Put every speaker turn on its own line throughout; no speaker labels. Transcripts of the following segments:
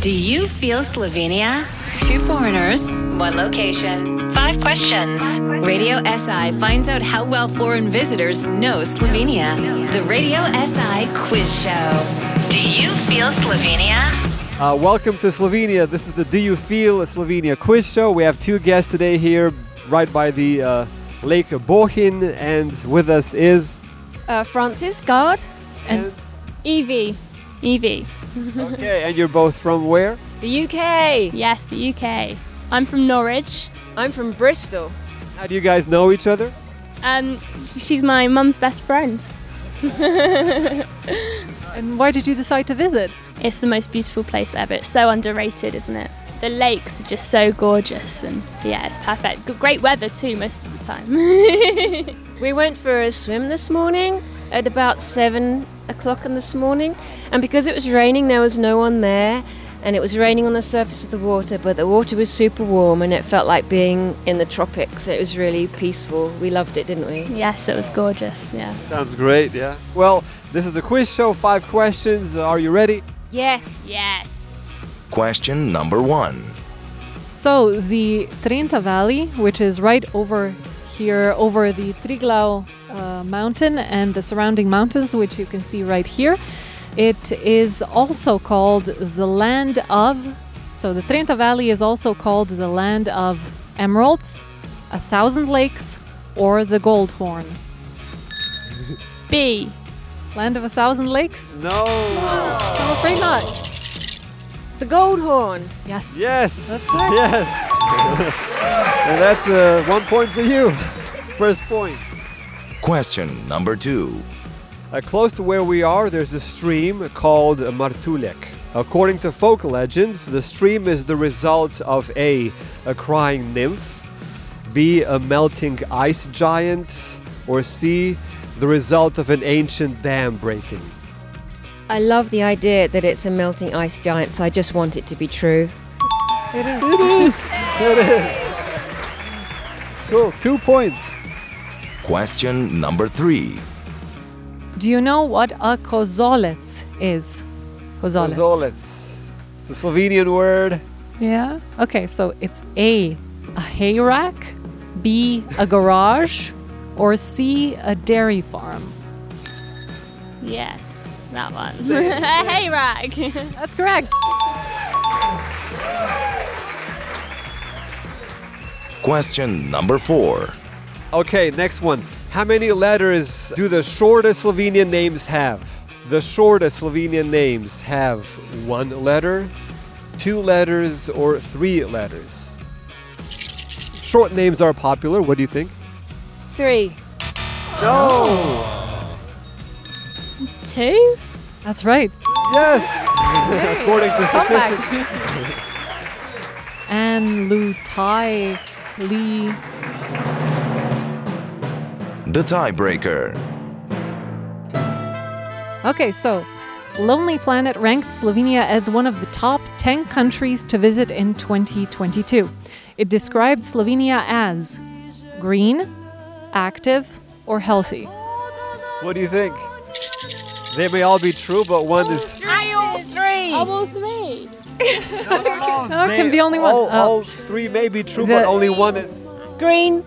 Do you feel Slovenia? Two foreigners, one location, five questions. Radio SI finds out how well foreign visitors know Slovenia. The Radio SI Quiz Show. Do you feel Slovenia?
Uh, welcome to Slovenia. This is the Do You Feel Slovenia quiz show. We have two guests today here, right by the uh, Lake Bohin, and with us is.
uh, Francis Guard and Evie.
Evie.
Okay, and you're both from where?
The UK.
Yes, the UK. I'm from Norwich.
I'm from Bristol.
How do you guys know each other?
Um, she's my mum's best friend.
And why did you decide to visit?
It's the most beautiful place ever. It's so underrated, isn't it? The lakes are just so gorgeous, and yeah, it's perfect. G- Great weather too, most of the time.
We went for a swim this morning at about seven o'clock in this morning, and because it was raining, there was no one there, and it was raining on the surface of the water. But the water was super warm, and it felt like being in the tropics. It was really peaceful. We loved it, didn't we?
yes, it was gorgeous. Yeah.
Sounds great, yeah. Well, this is a quiz show, five questions. Uh, Are you ready?
Yes.
Yes.
Question number one.
So, the Trenta Valley, which is right over here, over the Triglav uh, mountain and the surrounding mountains, which you can see right here, it is also called the land of. So, the Trenta Valley is also called the land of emeralds, a thousand lakes, or the gold horn.
B.
Land of a thousand lakes?
No!
I'm afraid not.
The gold horn.
Yes.
Yes!
That's right.
Yes! and that's uh, one point for you. First point.
Question number two.
Uh, close to where we are, there's a stream called Martulek. According to folk legends, the stream is the result of A, a crying nymph, B, a melting ice giant, or C, the result of an ancient dam breaking.
I love the idea that it's a melting ice giant, so I just want it to be true.
It is! It is! Cool, two points.
Question number three.
Do you know what a kozolets is? Kozolets.
Kozolets. It's a Slovenian word.
Yeah. Okay, so it's A, a hay rack, B, a garage, or C, a dairy farm.
Yes. That one. hey, Rag.
That's correct.
Question number four.
Okay, next one. How many letters do the shortest Slovenian names have? The shortest Slovenian names have one letter, two letters, or three letters. Short names are popular. What do you think?
Three.
No!
Two.
That's right.
Yes! According to statistics.
Comebacks. and Lu Tai Li.
The tiebreaker.
Okay, so Lonely Planet ranked Slovenia as one of the top 10 countries to visit in 2022. It described Slovenia as green, active, or healthy.
What do you think? They may all be true, but one is.
Double three.
No, it can be Oh, only one.
All,
Uh,
all three may be true, but
the-
only one is.
Green.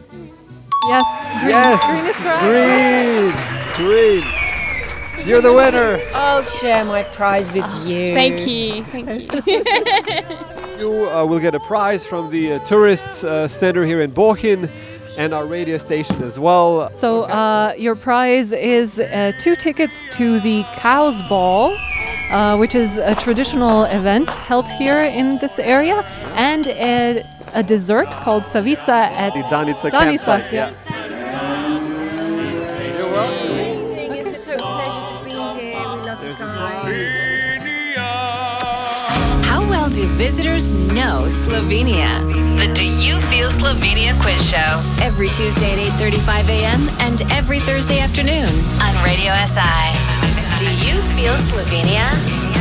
Yes. Green.
Yes!
Green is correct.
Green! Green! You're the winner!
I'll share my prize with you.
Thank you. Thank you.
You uh, will get a prize from the uh, tourist uh, center here in Bochum and our radio station as well.
So uh, your prize is uh, two tickets to the Cow's Ball, uh, which is a traditional event held here in this area, and a, a dessert called savica at
The Danica
Danica.
campsite.
It's
Yes.
a pleasure to be here. We love you guys.
How well do visitors know Slovenia? The Do You Feel Slovenia quiz show. Every Tuesday at 8.35 a.m. and every Thursday afternoon on Radio SI. Do You Feel Slovenia?